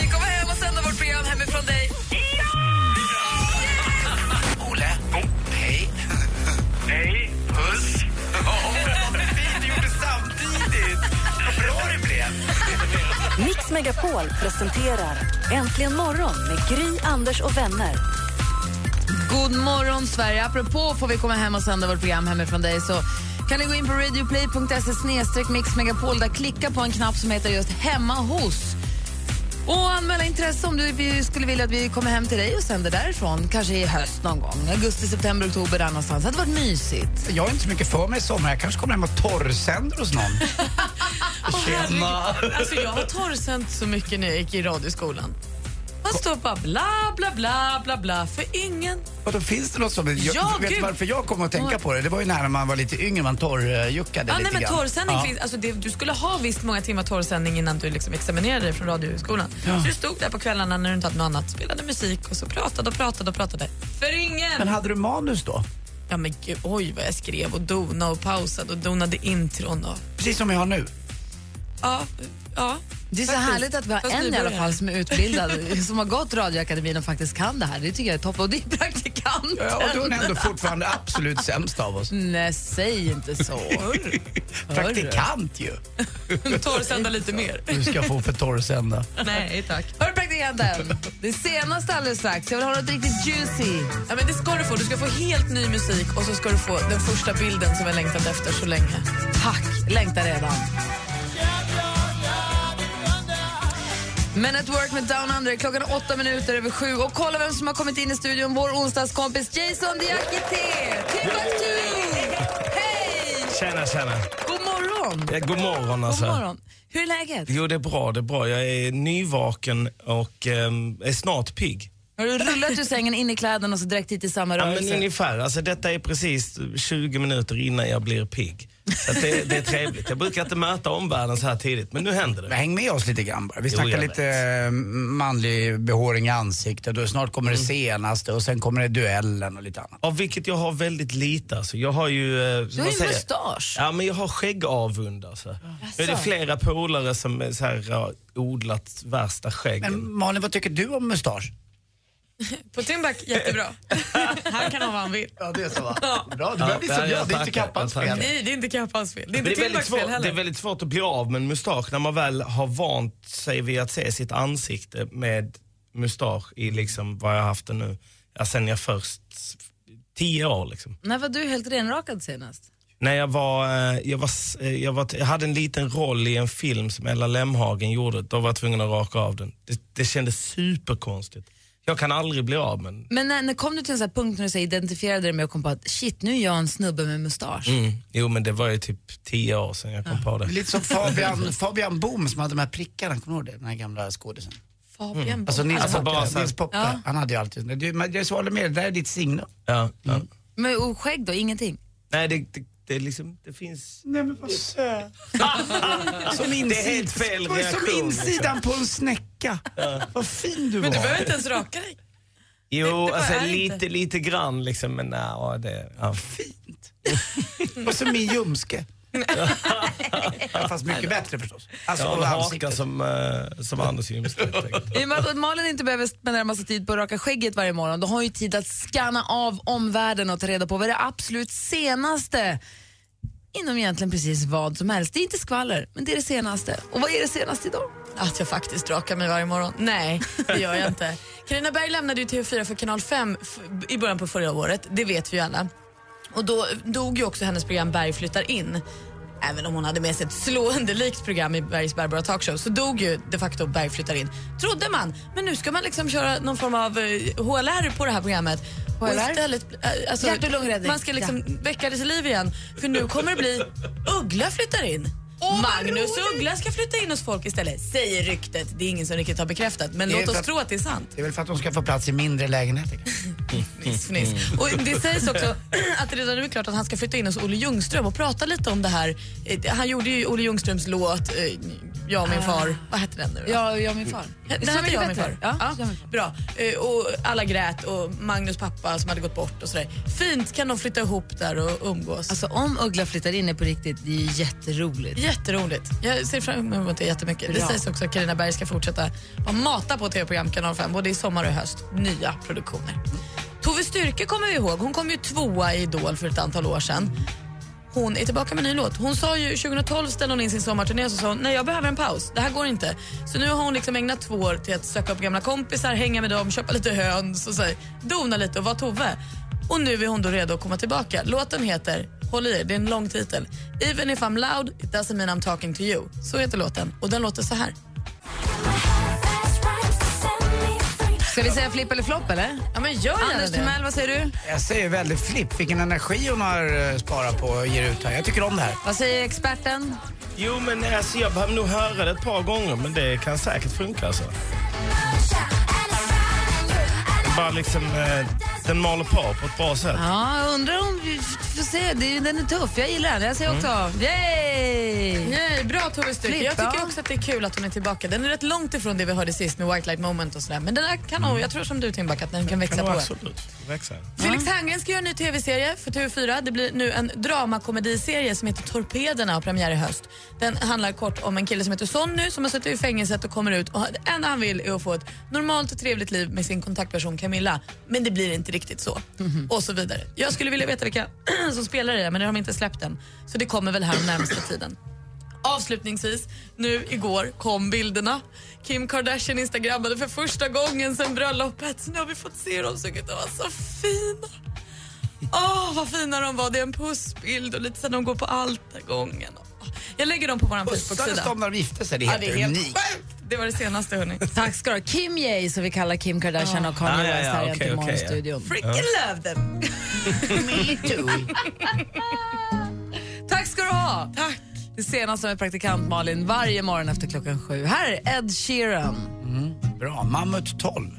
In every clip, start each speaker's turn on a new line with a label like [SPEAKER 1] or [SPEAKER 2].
[SPEAKER 1] vi komma hem och sända vårt program hemifrån dig?
[SPEAKER 2] Olle. Hej. Hej. Puss. Åh, vad fint du gjorde samtidigt! Vad bra det blev!
[SPEAKER 3] Mix Megapol presenterar Äntligen morgon med Gry, Anders och vänner.
[SPEAKER 1] God morgon, Sverige. Apropå får vi komma hem och sända vårt program hemifrån dig så kan ni gå in på radioplay.se snedstreck mixmegapol där klicka på en knapp som heter just hemma hos. Och anmäla intresse om du vi skulle vilja att vi kommer hem till dig och sänder därifrån. Kanske i höst någon gång. Augusti, september, oktober där någonstans. Det hade varit mysigt.
[SPEAKER 4] Jag har inte så mycket för mig i sommar. Jag kanske kommer hem och torrsänder hos någon. Tjena!
[SPEAKER 5] Ah, Alltså jag har torrsänt så mycket när jag gick i radioskolan. Man står bara bla, bla, bla, bla, bla för ingen.
[SPEAKER 4] Och då finns det något som... Jag,
[SPEAKER 5] Ja,
[SPEAKER 4] vet du
[SPEAKER 5] gud.
[SPEAKER 4] varför jag kom att tänka på det? Det var ju när man var lite yngre, man torrjuckade
[SPEAKER 5] Ah, nej,
[SPEAKER 4] lite
[SPEAKER 5] men
[SPEAKER 4] grann.
[SPEAKER 5] torrsändning
[SPEAKER 4] Ja.
[SPEAKER 5] finns, alltså det, du skulle ha visst många timmar torrsändning innan du liksom examinerade dig från radioskolan. Så du stod där på kvällarna när du inte hade något annat, spelade musik och så pratade och pratade och pratade. För ingen!
[SPEAKER 4] Men hade du manus då?
[SPEAKER 5] Ja men gud, oj vad jag skrev och donade och pausade och donade intron och...
[SPEAKER 4] Precis som jag har nu.
[SPEAKER 5] Ja, ja.
[SPEAKER 1] Det är så
[SPEAKER 5] Faktiskt.
[SPEAKER 1] härligt att vi har
[SPEAKER 5] Fast
[SPEAKER 1] en
[SPEAKER 5] vi
[SPEAKER 1] i alla
[SPEAKER 5] börjar.
[SPEAKER 1] fall som är utbildad, som har gått Radioakademin och faktiskt kan det här. Det tycker jag är toppen. Och det är praktikanten.
[SPEAKER 4] Ja, och då är hon ändå fortfarande absolut sämst av oss.
[SPEAKER 1] Mm, Nej, säg inte så.
[SPEAKER 4] Praktikant ju.
[SPEAKER 5] Torrsända lite mer.
[SPEAKER 4] Du ska få för torrsända.
[SPEAKER 5] Nej tack.
[SPEAKER 1] Hörru praktikanten, det senaste alldeles strax. Jag vill ha något riktigt juicy.
[SPEAKER 5] Ja, men det ska du få. Du ska få helt ny musik och så ska du få den första bilden som jag längtat efter så länge.
[SPEAKER 1] Tack, längtar redan. Men at work med Down Under klockan är åtta minuter över sju. Och kolla vem som har kommit in i studion. Vår onsdagskompis Jason Diakité. Timbuktu! Hej!
[SPEAKER 6] Tjena, tjena.
[SPEAKER 1] God morgon!
[SPEAKER 6] Ja, god morgon
[SPEAKER 1] God
[SPEAKER 6] alltså.
[SPEAKER 1] morgon. Hur är läget?
[SPEAKER 6] Jo, det är bra, det är bra. Jag är nyvaken och ehm, är snart pigg.
[SPEAKER 1] Har du rullat ur sängen, in i kläderna och så direkt hit i samma
[SPEAKER 6] Ja, men
[SPEAKER 1] rörelse?
[SPEAKER 6] ungefär. Alltså, detta är precis 20 minuter innan jag blir pigg. Så att det, det är trevligt. Jag brukar inte möta omvärlden så här tidigt, men nu händer
[SPEAKER 4] Men
[SPEAKER 6] det.
[SPEAKER 4] Häng med oss lite grann bara. Vi
[SPEAKER 6] Jo,
[SPEAKER 4] snackar
[SPEAKER 6] jag
[SPEAKER 4] lite eh, manlig behåring i ansiktet och snart kommer det
[SPEAKER 6] Mm.
[SPEAKER 4] senaste och sen kommer det duellen och lite annat.
[SPEAKER 6] Av vilket jag har väldigt lite. Alltså. Jag har ju...
[SPEAKER 1] Du har ju mustasch.
[SPEAKER 6] Ja, men jag har skäggavund alltså. Nu är det flera polare som är så här, har odlat värsta skäggen.
[SPEAKER 4] Men Malin, vad tycker du om mustasch?
[SPEAKER 5] På Timbuk, jättebra. Han kan ha vad han vill.
[SPEAKER 4] Ja, det är så va? Bra, du börjar bli
[SPEAKER 6] Ja,
[SPEAKER 4] som
[SPEAKER 6] ja,
[SPEAKER 4] jag. Det är inte
[SPEAKER 6] tackar,
[SPEAKER 4] Kappans
[SPEAKER 6] jag
[SPEAKER 4] fel.
[SPEAKER 6] tackar.
[SPEAKER 5] Nej, det är inte Kappans fel. Det är
[SPEAKER 6] Men
[SPEAKER 5] inte
[SPEAKER 6] det, är väldigt
[SPEAKER 5] Timbaks fel
[SPEAKER 6] svårt, det är
[SPEAKER 5] heller.
[SPEAKER 6] väldigt svårt att bli av med en mustasch när man väl har vant sig vid att se sitt ansikte med mustasch i liksom vad jag har haft det nu. Ja, sen jag först tio år liksom.
[SPEAKER 1] När var du helt renrakad senast?
[SPEAKER 6] När jag var, eh, jag, var, s- eh, jag, var, jag hade en liten roll i en film som Ella Lemhagen gjorde, då var jag tvungen att raka av den. Det, det kändes superkonstigt. Jag kan aldrig bli av med den.
[SPEAKER 1] Men när, när kom du till en sån här punkt när du så identifierade dig med och kom på att shit, nu är jag en snubbe med mustasch?
[SPEAKER 6] Mm. Jo men det var ju typ tio år sedan jag kom på det.
[SPEAKER 4] Lite som Fabian, Fabian Boom som hade de här prickarna, kommer du ihåg det? Den här gamla skådisen.
[SPEAKER 5] Fabian
[SPEAKER 4] Alltså Nils
[SPEAKER 6] Alltså, bara så
[SPEAKER 4] Poppe,
[SPEAKER 6] här-
[SPEAKER 4] Nils Poppe
[SPEAKER 5] Ja.
[SPEAKER 4] han hade ju alltid, du, men jag så håller med dig, det där är ditt signum.
[SPEAKER 6] Ja, ja.
[SPEAKER 5] Mm.
[SPEAKER 1] Men och skägg då, ingenting?
[SPEAKER 6] Nej det, det, det, är liksom, det finns...
[SPEAKER 4] Nej men vad söt.
[SPEAKER 6] Det är helt fel
[SPEAKER 4] Det var ju som
[SPEAKER 6] reaktion.
[SPEAKER 4] insidan på en snäcka. Vad fin du var.
[SPEAKER 5] Men du behöver inte ens raka dig.
[SPEAKER 6] Jo,
[SPEAKER 5] bara
[SPEAKER 6] alltså
[SPEAKER 5] är
[SPEAKER 6] lite,
[SPEAKER 5] inte.
[SPEAKER 6] lite grann liksom, men nej, ja, det... Ja.
[SPEAKER 4] Fint. Och så min ljumske. Ja, Fast mycket bättre förstås. Alltså,
[SPEAKER 6] Jag har
[SPEAKER 4] och
[SPEAKER 6] en haka
[SPEAKER 4] ansiktet.
[SPEAKER 6] som, eh, som Anders Ljungstedt.
[SPEAKER 1] I och med att Malin inte behöver spendera massa tid på att raka skägget varje morgon, då har hon ju tid att scanna av omvärlden och ta reda på vad är det absolut senaste inom egentligen precis vad som helst. Det är inte skvaller, men det är det senaste. Och vad är det senaste idag?
[SPEAKER 5] Att jag faktiskt rakar mig varje morgon. Nej, det gör jag inte. Carina Berg lämnade ju TV4 för Kanal 5 f- i början på förra året. Det vet vi ju alla. Och då dog ju också hennes program Berg flyttar in. Även om hon hade med sig ett slående likt program i Bergs Barbara Talkshow så dog ju de facto Berg flyttar in. Trodde man. Men nu ska man liksom köra någon form av eh, HLR på det här programmet. Och
[SPEAKER 1] HLR?
[SPEAKER 5] istället, eh, alltså,
[SPEAKER 1] Hjärt- och lungräddning.
[SPEAKER 5] Man ska liksom väcka det till liv igen. För nu kommer det bli Uggla flyttar in. Magnus Uggla ska flytta in hos folk istället, säger ryktet. Det är ingen som riktigt har bekräftat, men
[SPEAKER 4] Det är
[SPEAKER 5] låt
[SPEAKER 4] för
[SPEAKER 5] oss
[SPEAKER 4] att-
[SPEAKER 5] tro att det är sant.
[SPEAKER 4] Det är väl för att de ska få plats i mindre lägenheter. kanske.
[SPEAKER 5] fniss. Och det sägs också att det redan nu är klart att han ska flytta in hos Olle Ljungström och prata lite om det här. Eh, Han gjorde ju Olle Ljungströms låt eh, Jag och min far. Vad hette den nu då?
[SPEAKER 1] Ja, jag och min far.
[SPEAKER 5] Det här var jag min far.
[SPEAKER 1] Ja,
[SPEAKER 5] Ja,
[SPEAKER 1] jag och min far.
[SPEAKER 5] bra. Eh, Och alla grät och Magnus pappa som hade gått bort och sådär. Fint kan de flytta ihop där och umgås.
[SPEAKER 1] Alltså om Uggla flyttar in är på riktigt, det är ju jätteroligt.
[SPEAKER 5] Jätteroligt. Jag ser fram emot det jättemycket. Det
[SPEAKER 1] Bra.
[SPEAKER 5] sägs också att Carina Berg ska fortsätta att mata på tv-program Kanal 5 både i sommar och i höst. Nya produktioner. Tove Styrke kommer vi ihåg. Hon kom ju tvåa i Idol för ett antal år sedan. Hon är tillbaka med en ny låt. Hon sa ju 2012 ställde hon in sin sommarturné och så sa hon, nej jag behöver en paus, det här går inte. Så nu har hon liksom ägnat två år till att söka upp gamla kompisar, hänga med dem, köpa lite höns och så, här, dona lite och vara Tove. Och nu är hon då redo att komma tillbaka. Låten heter, håll i er, det är en lång titel. Even if I'm loud, it doesn't mean I'm talking to you. Så heter låten och den låter så här.
[SPEAKER 1] Ska vi säga flipp eller flopp eller?
[SPEAKER 5] Ja men gör gärna
[SPEAKER 1] Anders
[SPEAKER 5] det.
[SPEAKER 1] Timell, vad säger du?
[SPEAKER 4] Jag säger väldigt flipp. Vilken energi hon har eh, sparat på och ger ut här. Jag tycker om det här.
[SPEAKER 1] Vad säger experten?
[SPEAKER 6] Jo, men alltså, jag behöver nog höra det ett par gånger, men det kan säkert funka. Alltså. Bara liksom, eh, den maler på på ett bra sätt.
[SPEAKER 1] Ja, jag undrar om vi f- får se. Det är, ju- den är tuff, jag gillar den. Jag säger också yay!
[SPEAKER 5] Nej, bra Tove Styrke.
[SPEAKER 1] Flipp,
[SPEAKER 5] Jag
[SPEAKER 1] ja.
[SPEAKER 5] tycker också att det är kul att hon är tillbaka. Den är rätt långt ifrån det vi hörde sist med White Light Moment och sådär. Men den här kan nog, jag tror som du Timbuk att den kan växa
[SPEAKER 6] Kan nog
[SPEAKER 5] på.
[SPEAKER 6] absolut växa.
[SPEAKER 5] Felix Herngren ska göra en ny tv-serie för TV4. Det blir nu en dramakomediserie som heter Torpederna och har premiär i höst. Den handlar kort om en kille som heter Sonny som har suttit i fängelset och kommer ut och det enda han vill är att få ett normalt och trevligt liv med sin kontaktperson Camilla. Men det blir inte riktigt så. Och så vidare. Jag skulle vilja veta vilka som spelar i det men det har de inte släppt än. Så det kommer väl här den närmsta tiden. Avslutningsvis, nu igår kom bilderna. Kim Kardashian instagrammade för första gången sedan bröllopet. Så nu har vi fått se dem, så de var så fina. Åh, vad fina de var. Det är en pussbild och lite så här, de går på altargången. Åh, Jag lägger dem på vår
[SPEAKER 4] Pussades
[SPEAKER 5] Facebook-sida.
[SPEAKER 4] de när de gifte sig? Det är
[SPEAKER 5] Ja,
[SPEAKER 4] helt,
[SPEAKER 5] det är helt
[SPEAKER 4] unikt.
[SPEAKER 5] sjukt. Det var det senaste, hörni.
[SPEAKER 1] Tack ska du ha. Kim Yay, som vi kallar Kim Kardashian och Kanye
[SPEAKER 6] Ah, ja,
[SPEAKER 1] West
[SPEAKER 6] ja,
[SPEAKER 1] här
[SPEAKER 6] okej,
[SPEAKER 1] egentligen i
[SPEAKER 6] okej, ja.
[SPEAKER 1] morgonstudion.
[SPEAKER 5] Freaking love them.
[SPEAKER 1] Tack ska du ha! Tack. Det senaste med praktikant Malin varje morgon efter klockan sju. Här är Ed Sheeran.
[SPEAKER 4] Bra. Mammut 12.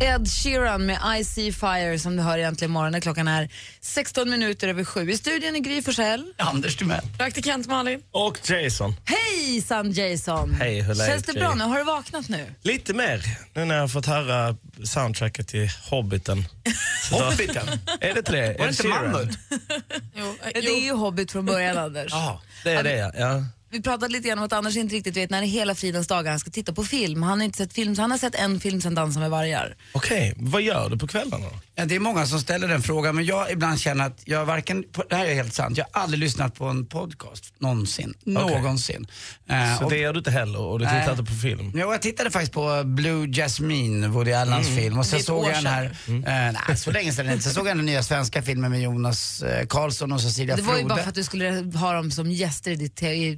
[SPEAKER 1] Ed Sheeran med I see fire som du hör egentligen imorgon när klockan är 16 minuter över sju. I studion är Gry Forssell.
[SPEAKER 4] Anders Timell.
[SPEAKER 5] Praktikant Malin.
[SPEAKER 6] Och Jason.
[SPEAKER 1] Hejsan Jason!
[SPEAKER 6] Hej, hur är läget,
[SPEAKER 1] Känns det bra
[SPEAKER 6] Gry?
[SPEAKER 1] nu? Har du vaknat nu?
[SPEAKER 6] Lite mer, nu när jag har fått höra soundtracket till Hobbiten. Så då-
[SPEAKER 4] Hobbiten.
[SPEAKER 6] Är det inte det?
[SPEAKER 4] Var det inte Mammut?
[SPEAKER 5] Jo, eh,
[SPEAKER 1] Det är ju Hobbit från början Anders.
[SPEAKER 6] Ja, det är det ja. ja.
[SPEAKER 1] Vi pratade lite grann om att Anders inte riktigt vet när i hela fridens dagar han ska titta på film. Han har inte sett film, så han har sett en film sen Dansa med vargar.
[SPEAKER 6] Okej, vad gör du på kvällarna då?
[SPEAKER 4] Ja, det är många som ställer den frågan, men jag ibland känner att jag varken, det här är helt sant, jag har aldrig lyssnat på en podcast någonsin. Någonsin. Eh,
[SPEAKER 6] Så
[SPEAKER 4] och-
[SPEAKER 6] det gör du inte heller och du tittar
[SPEAKER 4] Nej.
[SPEAKER 6] inte på film?
[SPEAKER 4] Jo, jag tittade faktiskt på Blue Jasmine, Woody Allans
[SPEAKER 6] Mm.
[SPEAKER 4] film. Och sen
[SPEAKER 5] Det är ett
[SPEAKER 4] såg
[SPEAKER 5] år
[SPEAKER 4] jag den här,
[SPEAKER 1] Mm.
[SPEAKER 4] eh, nej så länge sedan inte. Sen såg jag den nya svenska filmen med Jonas eh, Karlsson och Cecilia
[SPEAKER 1] Det var ju bara för
[SPEAKER 4] Frode.
[SPEAKER 1] att du skulle ha dem som gäster i, ditt te- i,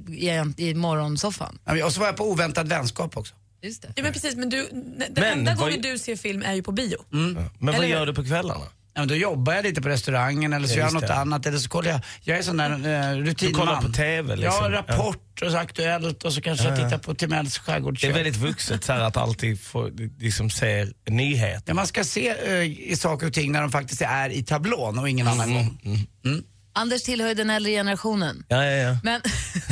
[SPEAKER 1] i, i morgonsoffan.
[SPEAKER 4] Ja, Och så var jag på Oväntad vänskap också.
[SPEAKER 1] Just det.
[SPEAKER 5] Ja, men precis, men du, den enda
[SPEAKER 6] Men vad- Mm.
[SPEAKER 5] gången du ser film är ju på bio.
[SPEAKER 6] Ja. Men vad
[SPEAKER 5] Eller hur?
[SPEAKER 6] gör du på kvällarna?
[SPEAKER 4] Ja, men då jobbar jag lite på restaurangen eller så gör jag
[SPEAKER 6] just
[SPEAKER 4] något
[SPEAKER 6] det.
[SPEAKER 4] annat. Eller så kollar jag, jag är sån där eh, rutinman.
[SPEAKER 6] kollar på TV, liksom.
[SPEAKER 4] Ja, Rapport och så Aktuellt och så kanske jag tittar på Timells
[SPEAKER 6] Det är
[SPEAKER 4] skärgårdskök.
[SPEAKER 6] väldigt vuxet så här, att alltid få, liksom, se nyheter.
[SPEAKER 4] Ja, man ska se eh, i saker och ting när de faktiskt är i tablån och ingen annan
[SPEAKER 6] Mm.
[SPEAKER 4] gång.
[SPEAKER 1] Anders tillhör ju den äldre generationen.
[SPEAKER 6] Ja, ja, ja.
[SPEAKER 1] Men,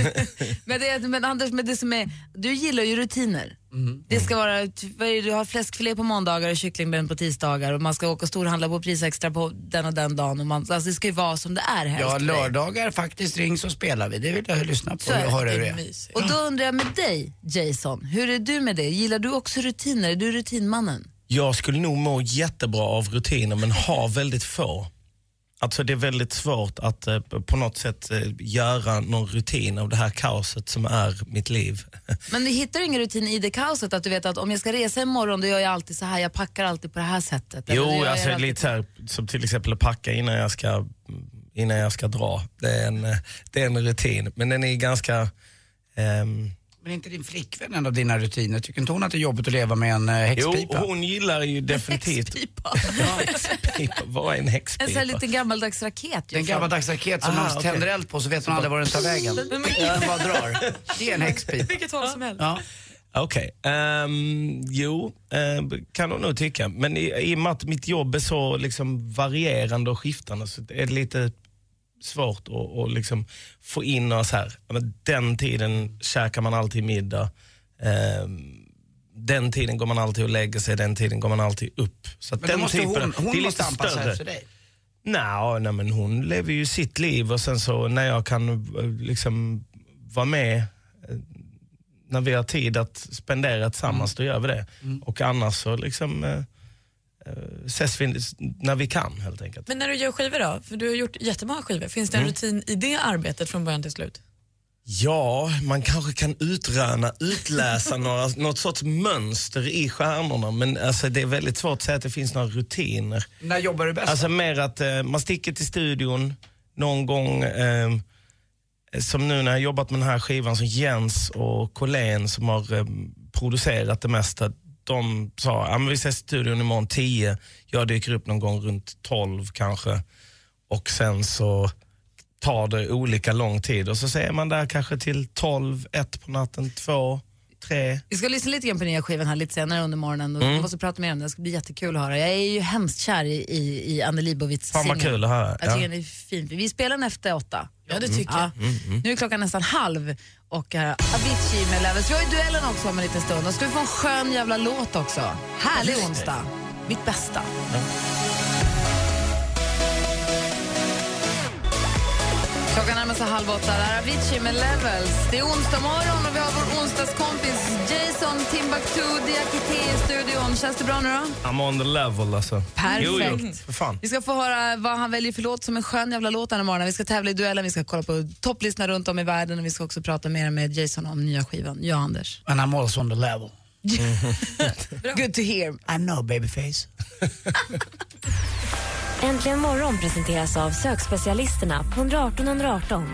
[SPEAKER 1] men, det, men Anders, men det som är, du gillar ju rutiner. Det ska vara, ty- vad är det, du har fläskfilé på måndagar och kycklingben på tisdagar och man ska åka och storhandla på prisextra på den och den dagen. Och man, alltså det ska ju vara som det är helst.
[SPEAKER 4] Ja,
[SPEAKER 1] för dig.
[SPEAKER 4] lördagar faktiskt rings och spelar vi. Det vill jag lyssna på
[SPEAKER 1] är det.
[SPEAKER 4] och höra hur
[SPEAKER 5] Det
[SPEAKER 4] det
[SPEAKER 5] är
[SPEAKER 4] är.
[SPEAKER 5] mysigt.
[SPEAKER 1] Och då undrar jag med dig, Jason, hur är du med det? Gillar du också rutiner? Är du rutinmannen?
[SPEAKER 6] Jag skulle nog må jättebra av rutiner men har väldigt få. Alltså det är väldigt svårt att eh, på något sätt eh, göra någon rutin av det här kaoset som är mitt liv.
[SPEAKER 1] Men du hittar ingen rutin i det kaoset att du vet att om jag ska resa imorgon då gör jag alltid så här, jag packar alltid på det här sättet. Eller då
[SPEAKER 6] Jo,
[SPEAKER 1] gör
[SPEAKER 6] alltså
[SPEAKER 1] jag
[SPEAKER 6] lite så här, som till exempel att packa innan jag ska, innan jag ska dra. Det är, en, eh, det är en rutin, men den är ganska... ehm,
[SPEAKER 4] Men inte din flickvän en av dina rutiner? Tycker inte hon att det är jobbigt att leva med en eh,
[SPEAKER 6] Jo,
[SPEAKER 4] häxpipa?
[SPEAKER 6] hon gillar ju definitivt...
[SPEAKER 1] Häxpipa.
[SPEAKER 6] Häxpipa. Vad är en
[SPEAKER 1] En sån
[SPEAKER 6] häxpipa?
[SPEAKER 1] här liten gammaldags raket.
[SPEAKER 4] Det är en
[SPEAKER 1] ju.
[SPEAKER 4] gammaldags raket som
[SPEAKER 6] Aha,
[SPEAKER 4] man
[SPEAKER 6] Ah, okej.
[SPEAKER 4] tänder eld på så vet man aldrig var den tar vägen. Den bara drar. Det är en häxpipa.
[SPEAKER 5] Vilket håll som helst.
[SPEAKER 4] Ja.
[SPEAKER 6] Okej. ehm, jo, ehm, kan hon nog tycka. Men i, i och med att mitt jobb är så liksom varierande och skiftande så är det lite svårt att, att liksom få in några så här, ja, men den tiden käkar man alltid middag. ehm, den tiden går man alltid och lägger sig, den tiden går man alltid upp. Så att
[SPEAKER 4] Men
[SPEAKER 6] den
[SPEAKER 4] då måste
[SPEAKER 6] typen,
[SPEAKER 4] hon,
[SPEAKER 6] det är
[SPEAKER 4] hon måste
[SPEAKER 6] lite
[SPEAKER 4] anpassa sig
[SPEAKER 6] större.
[SPEAKER 4] efter dig.
[SPEAKER 6] Nej, nej, men hon lever ju sitt liv och sen så när jag kan eh, liksom vara med, eh, när vi har tid att spendera tillsammans, då gör vi det. Och annars så liksom eh, eh, ses vi när vi kan helt enkelt.
[SPEAKER 5] Men när du gör skivor då? För du har gjort jättemånga skivor. Finns
[SPEAKER 6] Mm.
[SPEAKER 5] det en rutin i det arbetet från början till slut?
[SPEAKER 6] Ja, man kanske kan utröna, utläsa några, något sorts mönster i stjärnorna men alltså, det är väldigt svårt att säga att det finns några rutiner.
[SPEAKER 4] När jobbar du bäst?
[SPEAKER 6] Alltså mer att eh, man sticker till studion någon gång, eh, som nu när jag jobbat med den här skivan, som Jens och Collén som har eh, producerat det mesta, de sa ja men vi ses i studion imorgon 10, jag dyker upp någon gång runt 12 kanske och sen så tar det olika lång tid och så ser man där kanske till 12, 1 på natten, 2, 3.
[SPEAKER 1] Vi ska lyssna lite grann på den nya skivan här lite senare under morgonen och
[SPEAKER 6] Mm.
[SPEAKER 1] vi måste prata mer om den. Det ska bli jättekul att höra. Jag är ju hemskt kär i, i, i Anne Libovits
[SPEAKER 6] Fan, vad kul att höra.
[SPEAKER 1] Jag tycker
[SPEAKER 6] Ja.
[SPEAKER 1] den är fin. Vi spelar den efter åtta.
[SPEAKER 5] Ja, det tycker
[SPEAKER 1] Ja. Nu är klockan nästan halv och här, Avicii med Levels. Vi har ju duellen också om en liten stund. Och ska vi få en skön jävla låt också. Härlig onsdag. Mitt bästa. Klockan närmar sig halv åtta. Det här är Avicii med Levels. Det är onsdag morgon och vi har vår onsdagskompis Jason Timbuktu Diakité i studion. Känns det bra nu då?
[SPEAKER 6] I'm on the level alltså. Jo, jo,
[SPEAKER 1] Perfekt.
[SPEAKER 6] för fan.
[SPEAKER 1] Vi ska få höra vad han väljer för låt som en skön jävla låt den här morgonen. Vi ska tävla i duellen, vi ska kolla på topplistorna runt om i världen och vi ska också prata mer med Jason om nya skivan. Ja, Anders.
[SPEAKER 4] And I'm also on the level.
[SPEAKER 1] Good to hear.
[SPEAKER 4] I know babyface.
[SPEAKER 3] Äntligen morgon presenteras av sökspecialisterna på 118 118.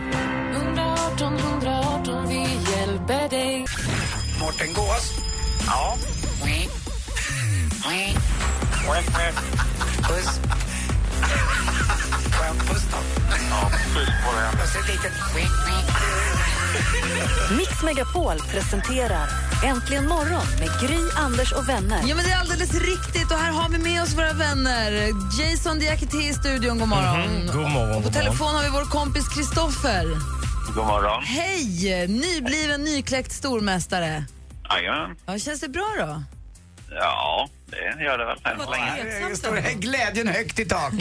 [SPEAKER 2] Mårten Gås? Ja. Quack, quack. Puss. Får jag en puss då? Ja, puss på den. Puss ett litet...
[SPEAKER 3] Mix Megapol presenterar Äntligen morgon med Gry, Anders och vänner.
[SPEAKER 1] Ja, men det är alldeles riktigt och här har vi med oss våra vänner. Jason Diakité i studion, god morgon.
[SPEAKER 6] Mhm, God morgon.
[SPEAKER 1] Mm. På
[SPEAKER 6] god morgon.
[SPEAKER 1] telefon har vi vår kompis Kristoffer.
[SPEAKER 2] God morgon.
[SPEAKER 1] Hej! Nybliven, nykläckt stormästare.
[SPEAKER 2] Jajamän.
[SPEAKER 1] Ja, känns det bra då?
[SPEAKER 2] Ja, det gör det väl än så länge.
[SPEAKER 4] Glädjen högt i tak.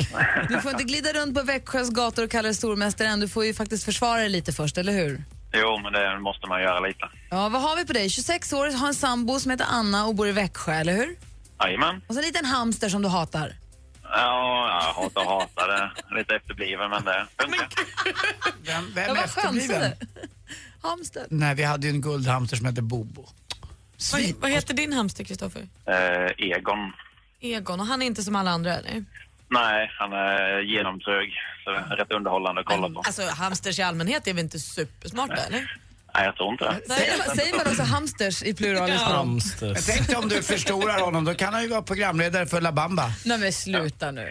[SPEAKER 1] Du får inte glida runt på Växjös gator och kalla dig stormästare än. Du får ju faktiskt försvara dig lite först, eller hur?
[SPEAKER 2] Jo, men det måste man göra lite.
[SPEAKER 1] Ja, vad har vi på dig? 26 år, har en sambo som heter Anna och bor i Växjö, eller hur?
[SPEAKER 2] Jajamän.
[SPEAKER 1] Och så en liten hamster som du hatar.
[SPEAKER 2] Ja, jag hatar och hatar det. Lite efterbliven, men det funkar.
[SPEAKER 4] Vem,
[SPEAKER 1] Ja,
[SPEAKER 4] vem
[SPEAKER 1] vad skönt. sa
[SPEAKER 4] efterbliven?
[SPEAKER 1] du? Hamster.
[SPEAKER 4] Nej, vi hade ju en guldhamster som hette Bobo.
[SPEAKER 5] Vad,
[SPEAKER 4] Svin.
[SPEAKER 5] vad heter din hamster, Kristoffer?
[SPEAKER 2] Eh, Egon.
[SPEAKER 5] Egon. Och han är inte som alla andra, eller?
[SPEAKER 2] Nej, han är genomtrög. Så det är rätt underhållande att kolla på.
[SPEAKER 5] Alltså, hamsters i allmänhet är väl inte supersmarta, eller?
[SPEAKER 2] Nej, jag tror inte det.
[SPEAKER 1] Säger, säger man också hamsters i pluralis på dem?
[SPEAKER 4] Men
[SPEAKER 6] Hamsters.
[SPEAKER 4] tänk dig om du förstorar honom, då kan han ju vara programledare för La Bamba.
[SPEAKER 1] Nej men sluta nu.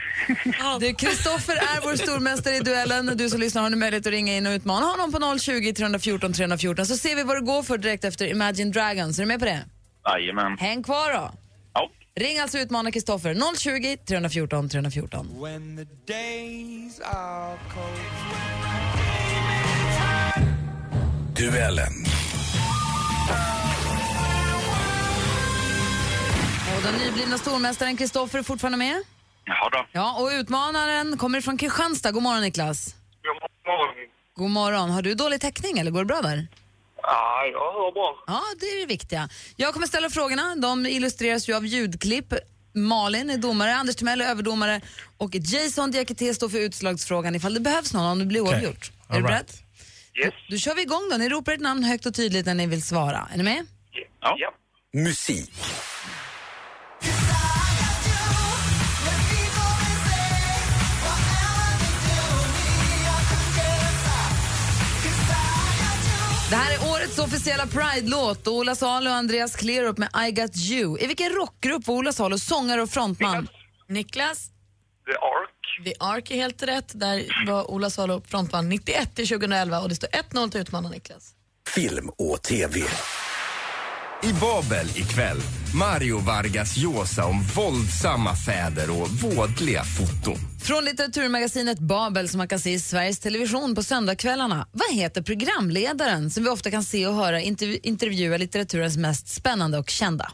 [SPEAKER 1] Du, Kristoffer är vår stormästare i duellen. Du som lyssnar har nu möjlighet att ringa in och utmana honom på 020 314 314 så ser vi vad det går för direkt efter Imagine Dragons. Är du med på det?
[SPEAKER 2] Jajamän.
[SPEAKER 1] Häng kvar då.
[SPEAKER 2] Ja.
[SPEAKER 1] Ring alltså och utmana Kristoffer. 020 314 314.
[SPEAKER 6] Duellen.
[SPEAKER 1] Och den nyblivna stormästaren Kristoffer är fortfarande med.
[SPEAKER 2] Jaha då.
[SPEAKER 1] Ja, och utmanaren kommer från Kristianstad. God morgon Niklas.
[SPEAKER 2] God morgon.
[SPEAKER 1] God morgon. Har du dålig täckning eller går det bra där?
[SPEAKER 2] Ja, jag hör bra.
[SPEAKER 1] Ja, det är det viktiga. Jag kommer ställa frågorna. De illustreras ju av ljudklipp. Malin är domare, Anders Timell är överdomare och Jason Diakité står för utslagsfrågan ifall det behövs någon om det blir oavgjort. Är du
[SPEAKER 6] All
[SPEAKER 1] beredd?
[SPEAKER 6] right.
[SPEAKER 2] Yes.
[SPEAKER 1] Då kör vi igång då. Ni ropar ert namn högt och tydligt när ni vill svara. Är ni med?
[SPEAKER 2] Ja. ja.
[SPEAKER 7] Musik.
[SPEAKER 1] Det här är årets Årets officiella Pride-låt och Ola Salo och Andreas Klerup med I Got You. I vilken rockgrupp var Ola Salo sångare och frontman?
[SPEAKER 5] Niklas,
[SPEAKER 2] The Ark.
[SPEAKER 5] The Ark är helt rätt. Där var Ola Salo frontman 91 till 2011 och det står 1-0 till utmanaren Niklas.
[SPEAKER 7] Film och TV. I Babel ikväll, Mario Vargas Llosa om våldsamma fäder och vådliga foton.
[SPEAKER 1] Från litteraturmagasinet Babel som man kan se i Sveriges Television på söndagskvällarna. Vad heter programledaren som vi ofta kan se och höra intervju- intervjua litteraturens mest spännande och kända?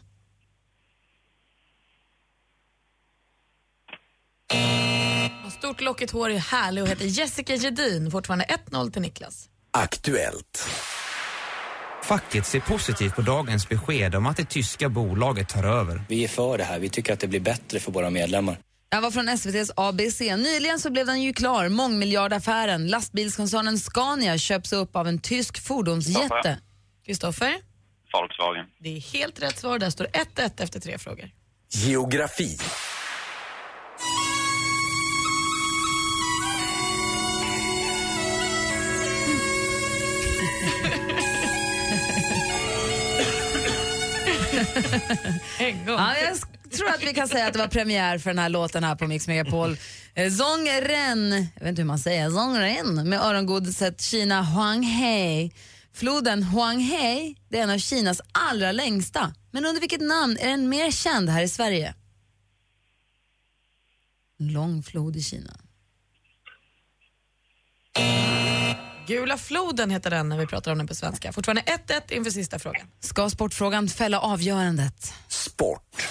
[SPEAKER 5] Har stort lockigt hår, är härlig och heter Jessica Gedin. Fortfarande 1-0 till Niklas.
[SPEAKER 7] Aktuellt.
[SPEAKER 8] Facket ser positivt på dagens besked om att det tyska bolaget tar över.
[SPEAKER 9] Vi är för det här. Vi tycker att det blir bättre för våra medlemmar.
[SPEAKER 1] Jag var från SVTs ABC. Nyligen så blev den ju klar, mångmiljardaffären. Lastbilskoncernen Scania köps upp av en tysk fordonsjätte.
[SPEAKER 5] Kristoffer,
[SPEAKER 2] Volkswagen.
[SPEAKER 5] det är helt rätt svar. Där står 1-1 efter tre frågor.
[SPEAKER 7] Geografi.
[SPEAKER 5] En gång.
[SPEAKER 1] Ja, jag s- tror att vi kan säga att det var premiär för den här låten här på Mix Megapol. Eh, Zongren, jag vet inte hur man säger, Zongren med örongodiset Kina Huanghai. Floden Huanghai, det är en av Kinas allra längsta. Men under vilket namn är den mer känd här i Sverige? En lång flod i Kina.
[SPEAKER 5] Gula floden heter den när vi pratar om den på svenska. Fortfarande 1-1 inför sista frågan.
[SPEAKER 1] Ska sportfrågan fälla avgörandet?
[SPEAKER 7] Sport.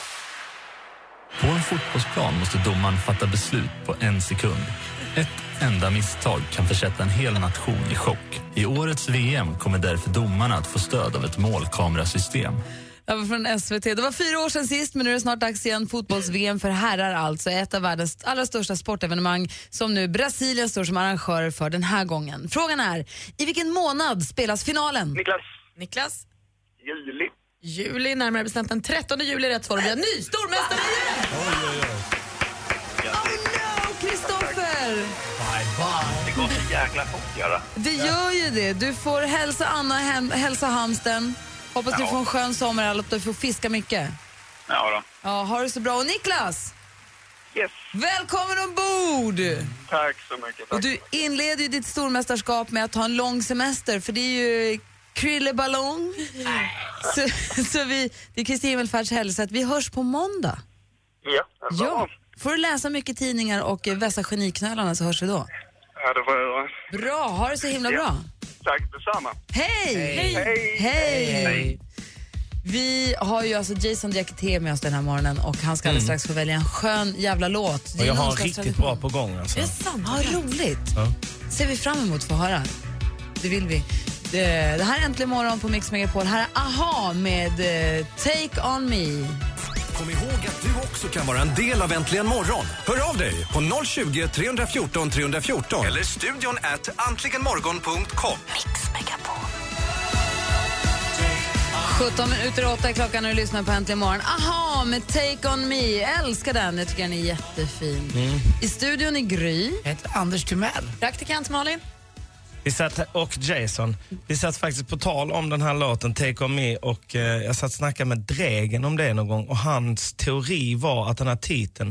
[SPEAKER 8] På en fotbollsplan måste domaren fatta beslut på en sekund. Ett enda misstag kan försätta en hel nation i chock. I årets VM kommer därför domarna att få stöd av ett målkamerasystem.
[SPEAKER 1] Jag var från SVT. Det var fyra år sedan sist, men nu är det snart dags igen. Fotbolls-VM för herrar alltså, ett av världens allra största sportevenemang som nu Brasilien står som arrangör för den här gången. Frågan är, i vilken månad spelas finalen?
[SPEAKER 2] Niklas.
[SPEAKER 5] Niklas,
[SPEAKER 2] Juli.
[SPEAKER 5] juli, närmare bestämt den 13 juli är rätt svar. Vi har ny stormästare igen!
[SPEAKER 1] Oh no, Kristoffer!
[SPEAKER 2] Det går så jäkla fort göra.
[SPEAKER 1] Det gör ju det. Du får hälsa Anna, hem, hälsa hamsten. Hoppas du
[SPEAKER 2] Ja.
[SPEAKER 1] får en skön sommar och att du får fiska mycket.
[SPEAKER 2] Ja då.
[SPEAKER 1] Ja, ha det så bra. Och Niklas,
[SPEAKER 2] Yes.
[SPEAKER 1] välkommen ombord!
[SPEAKER 2] Tack så mycket.
[SPEAKER 1] Och du inleder ju ditt stormästerskap med att ta en lång semester för det är ju krilleballong. så, så vi, det är Kristi Himmelfärds hälsa att vi hörs på måndag.
[SPEAKER 2] Ja,
[SPEAKER 1] Ja. Får du läsa mycket tidningar och eh, vässa geniknölarna så hörs vi då.
[SPEAKER 2] ja, det var jag.
[SPEAKER 1] Bra, ha det så himla bra.
[SPEAKER 2] Tack detsamma.
[SPEAKER 1] Hej!
[SPEAKER 2] Hej.
[SPEAKER 1] Hej! Vi har ju alltså Jason Diakité med oss den här morgonen och han ska alldeles strax få välja en skön jävla låt. Det
[SPEAKER 6] Mm. Och
[SPEAKER 1] är
[SPEAKER 6] jag
[SPEAKER 1] någon
[SPEAKER 6] har
[SPEAKER 1] slags
[SPEAKER 6] riktigt
[SPEAKER 1] tradition.
[SPEAKER 6] bra på gång alltså.
[SPEAKER 1] sant? Ja, roligt.
[SPEAKER 6] Ja.
[SPEAKER 1] ser vi fram emot att få höra. Det vill vi. Det, det här är Äntligen morgon på Mix Megapol. Här är AHA med eh, Take On Me.
[SPEAKER 7] Kom ihåg att du också kan vara en del av Äntligen morgon. Hör av dig på 020 314 314 eller studion at antligenmorgon.com.
[SPEAKER 1] 17 minuter åtta är klockan när du lyssnar på Äntligen morgon. AHA med Take On Me. Jag älskar den. Jag tycker den är jättefin.
[SPEAKER 6] Mm.
[SPEAKER 1] I studion i Gry.
[SPEAKER 4] Jag heter Anders Timell.
[SPEAKER 5] Praktikant Malin.
[SPEAKER 6] Vi satt, och Jason, vi satt faktiskt på tal om den här låten Take On Me och eh, jag satt och snackade med Dregen om det någon gång och hans teori var att den här titeln,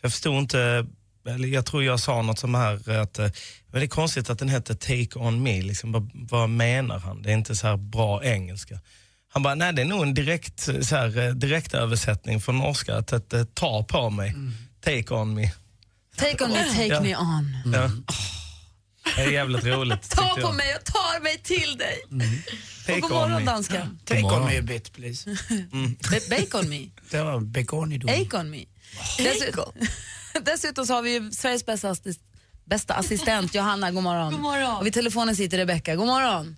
[SPEAKER 6] för jag förstod inte, eller jag tror jag sa något som här att eh, men det är konstigt att den heter Take On Me, liksom, vad, vad menar han? Det är inte så här bra engelska. Han bara, nej det är nog en direkt, eh, så här, eh, direkt översättning från norska, att, att eh, ta på mig,
[SPEAKER 1] Mm.
[SPEAKER 6] Take On Me.
[SPEAKER 1] Take On Me, Take
[SPEAKER 6] Ja.
[SPEAKER 1] Me On.
[SPEAKER 6] Ja. Det är jävligt roligt.
[SPEAKER 1] Mm. Ta
[SPEAKER 6] tyckte jag. Mm.
[SPEAKER 1] på mig, jag tar mig till dig. Och god
[SPEAKER 6] Take On
[SPEAKER 1] morgon
[SPEAKER 6] Me.
[SPEAKER 1] dansken.
[SPEAKER 4] Take on me a bit please.
[SPEAKER 1] Ba- Bake On Me.
[SPEAKER 4] Det var Begoni då.
[SPEAKER 1] Ake on Mm. me. Dessutom, dessutom så har vi ju Sveriges bästa, assist, bästa assistent Johanna, god morgon. god morgon. Och vid telefonen sitter Rebecka, god morgon.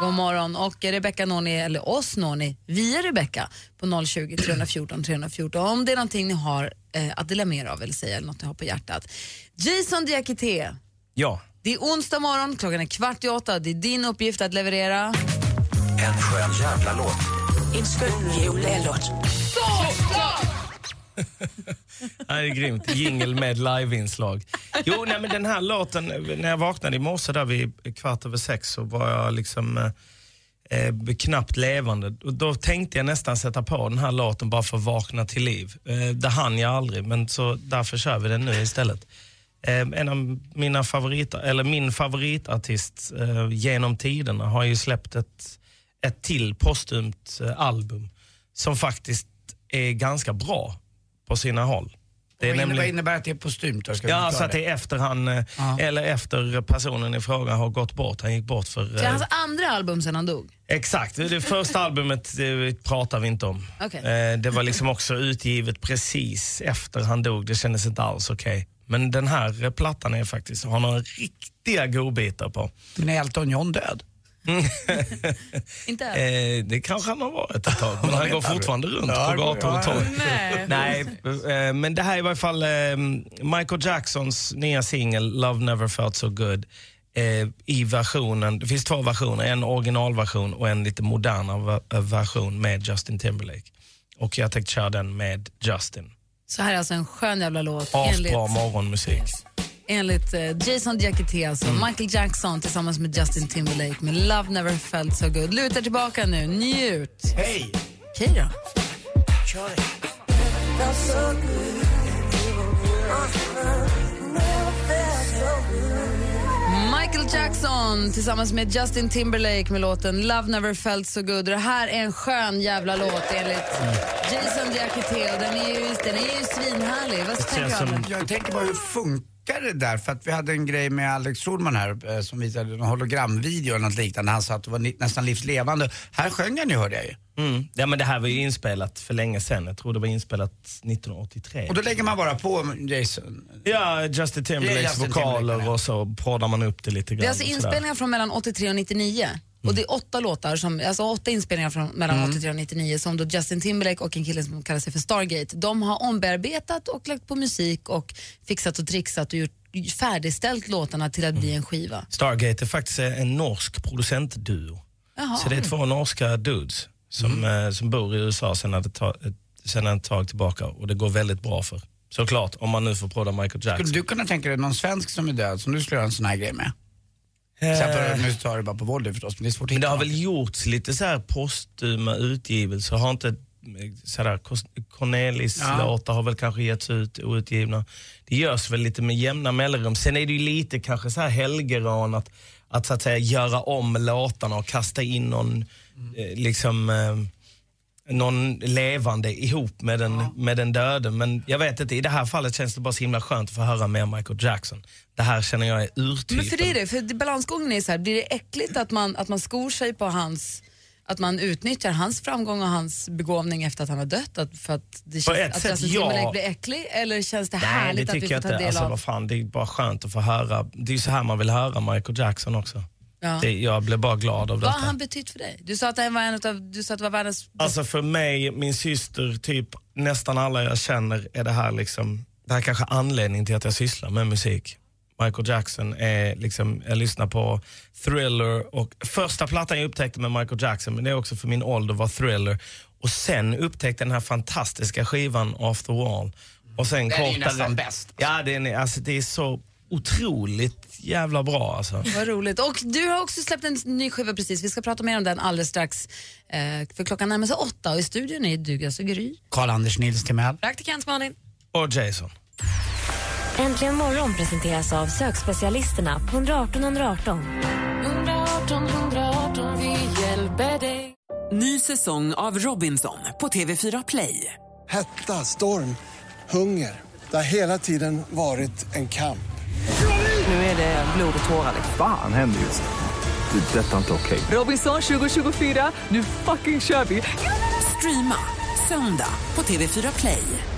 [SPEAKER 1] God morgon. Och Rebecka når ni, eller oss når ni, via Rebecka på 020 314 314 om det är någonting ni har eh, att dela med er av eller säga eller något ni har på hjärtat. Jason Diakité,
[SPEAKER 6] Ja.
[SPEAKER 1] det är onsdag morgon, klockan är kvart i åtta, det är din uppgift att leverera.
[SPEAKER 7] En skön jävla låt.
[SPEAKER 6] Ja, det är grymt. Jingle med liveinslag. Jo, nej, men den här låten, när jag vaknade i morse där vid kvart över sex så var jag liksom eh, eh, knappt levande. Och Då tänkte jag nästan sätta på den här låten bara för att vakna till liv. Eh, det hann jag aldrig, men så därför kör vi den nu istället. Eh, en av mina favoriter, eller min favoritartist eh, genom tiderna har ju släppt ett, ett till postumt eh, album som faktiskt är ganska bra på sina håll.
[SPEAKER 4] Det vad innebär, vad innebär att det är postumt? då? Ska vi
[SPEAKER 6] Ja,
[SPEAKER 4] förklara
[SPEAKER 6] alltså att det är efter han, eh, eller efter personen i fråga har gått bort. Han gick bort för...
[SPEAKER 1] Det är
[SPEAKER 6] eh,
[SPEAKER 1] hans
[SPEAKER 4] alltså-
[SPEAKER 1] andra album sen han dog.
[SPEAKER 6] Exakt, det första albumet eh, pratar vi inte om.
[SPEAKER 1] Okej.
[SPEAKER 6] Eh, Det var liksom också utgivet precis efter han dog, det kändes inte alls okej. Men den här eh, plattan är faktiskt, har några riktiga godbitar på.
[SPEAKER 4] Men är Elton John död?
[SPEAKER 1] Inte
[SPEAKER 6] Eh, det kanske han har varit ett tag,
[SPEAKER 4] Man
[SPEAKER 6] men han
[SPEAKER 4] vet
[SPEAKER 6] går
[SPEAKER 4] aldrig.
[SPEAKER 6] fortfarande runt
[SPEAKER 4] Ja,
[SPEAKER 6] på gator
[SPEAKER 4] ja,
[SPEAKER 6] och torg.
[SPEAKER 4] nej.
[SPEAKER 6] Nej, eh, men det här är i varje fall eh, Michael Jacksons nya singel Love Never Felt So Good eh, i versionen, det finns två versioner, en originalversion och en lite modernare ver- eh, version med Justin Timberlake. Och jag tänkte köra den med Justin.
[SPEAKER 1] Så här är alltså en skön jävla låt enligt,
[SPEAKER 6] Asbra morgonmusik.
[SPEAKER 1] enligt eh, Jason Diakité, alltså Michael Jackson tillsammans med Justin Timberlake med Love Never Felt So Good. Luta tillbaka nu, njut.
[SPEAKER 4] Hej!
[SPEAKER 1] Okej då. Michael Jackson tillsammans med Justin Timberlake med låten Love Never Felt So Good. Och Det här är en skön jävla låt enligt Jason Diakité och den är ju, den är ju svinhärlig. Vad tänker du Albin?
[SPEAKER 4] Jag tänker bara, hur funkar det där? För att vi hade en grej med Alex Schulman här eh, som visade en hologramvideo eller något liknande. Han sa att det var ni- nästan livslevande. Här sjöng han ju hörde jag ju.
[SPEAKER 6] Mm. Ja, men det här var ju inspelat för länge sedan, jag tror det var inspelat 1983.
[SPEAKER 4] Och då lägger man bara på Jason.
[SPEAKER 6] Ja, Justin Timberlakes
[SPEAKER 4] Justin
[SPEAKER 6] vokaler
[SPEAKER 4] Timberlake,
[SPEAKER 6] och så proddar man upp det lite grann.
[SPEAKER 1] Det är alltså
[SPEAKER 6] och sådär.
[SPEAKER 1] inspelningar från mellan 83 och 99. Och det är åtta låtar, som, alltså åtta inspelningar från mellan
[SPEAKER 6] Mm.
[SPEAKER 1] 83 och 99 som då Justin Timberlake och en kille som kallar sig för Stargate, de har ombearbetat och lagt på musik och fixat och trixat och gjort, färdigställt låtarna till att bli
[SPEAKER 6] Mm.
[SPEAKER 1] en skiva.
[SPEAKER 6] Stargate är faktiskt en norsk producentduo.
[SPEAKER 1] Jaha. Mm.
[SPEAKER 6] Så det är två norska dudes som, eh, som bor i USA sedan ett, ta, ett, sedan ett tag tillbaka och det går väldigt bra för. Såklart, om man nu får prodda Michael Jackson.
[SPEAKER 4] Skulle du kunna tänka dig någon svensk som är död som du skulle göra en sån här grej med?
[SPEAKER 6] Eh.
[SPEAKER 4] Sen för, nu tar jag det bara på volley förstås, men det är svårt att
[SPEAKER 6] Men det
[SPEAKER 4] hitta
[SPEAKER 6] har
[SPEAKER 4] någon.
[SPEAKER 6] väl gjorts lite så här postuma utgivelser. Har inte eh, så där, Cos- Cornelis
[SPEAKER 4] Ja.
[SPEAKER 6] låtar har väl kanske getts ut outgivna. Det görs väl lite med jämna mellanrum. Sen är det ju lite kanske så här helgeran att, att så att säga göra om låtarna och kasta in någon
[SPEAKER 1] Mm.
[SPEAKER 6] eh, liksom eh, någon levande ihop med den, med den döde. Men jag vet inte, i det här fallet känns det bara så himla skönt att få höra mer Michael Jackson. Det här känner jag är urtypen.
[SPEAKER 1] Men för det är det, för det- balansgången är så här, blir det äckligt att man, att man skor sig på hans att man utnyttjar hans framgång och hans begåvning efter att han har dött? Att, för att det känns,
[SPEAKER 6] ett
[SPEAKER 1] att
[SPEAKER 6] sätt,
[SPEAKER 1] Justin
[SPEAKER 6] ja.
[SPEAKER 1] Timberlake blir äcklig? Eller känns det
[SPEAKER 6] Nej,
[SPEAKER 1] härligt
[SPEAKER 6] det
[SPEAKER 1] att vi
[SPEAKER 6] tycker
[SPEAKER 1] får
[SPEAKER 6] jag
[SPEAKER 1] ta del
[SPEAKER 6] inte. Alltså,
[SPEAKER 1] av?
[SPEAKER 6] vad fan, det är bara skönt att få höra. Det är ju så här man vill höra Michael Jackson också.
[SPEAKER 1] Ja.
[SPEAKER 6] Det, jag blev bara glad
[SPEAKER 1] Vad
[SPEAKER 6] av detta.
[SPEAKER 1] har han betytt för dig? Du sa att han var en utav, du sa att det var världens...
[SPEAKER 6] Alltså för mig, min syster, typ nästan alla jag känner är det här liksom, det här kanske är anledningen till att jag sysslar med musik. Michael Jackson är liksom, jag lyssnar på Thriller och första plattan jag upptäckte med Michael Jackson, men det är också för min ålder, var Thriller. Och sen upptäckte jag den här fantastiska skivan Off the Wall. Och sen
[SPEAKER 4] Den är ju
[SPEAKER 6] kortare-
[SPEAKER 4] nästan bäst.
[SPEAKER 6] Ja, den är, alltså, det är så otroligt jävla bra alltså.
[SPEAKER 1] Vad roligt. Och du har också släppt en ny skiva precis. Vi ska prata mer om den alldeles strax. Eh, för klockan närmar sig åtta och i studion är du, alltså Gry.
[SPEAKER 4] Karl-Anders Nils Timell.
[SPEAKER 5] Praktikant Malin.
[SPEAKER 6] Och Jason.
[SPEAKER 3] Äntligen morgon presenteras av sökspecialisterna på 118 118.
[SPEAKER 10] 118 118, vi hjälper dig.
[SPEAKER 11] Ny säsong av Robinson på TV4 Play.
[SPEAKER 12] Hetta, storm, hunger. Det har hela tiden varit en kamp.
[SPEAKER 11] Nu är det blod och tårar. liksom.
[SPEAKER 13] Fan händer just det. Det är detta inte okej.
[SPEAKER 11] Robinson 2024, nu fucking kör vi! Streama söndag på TV4 Play.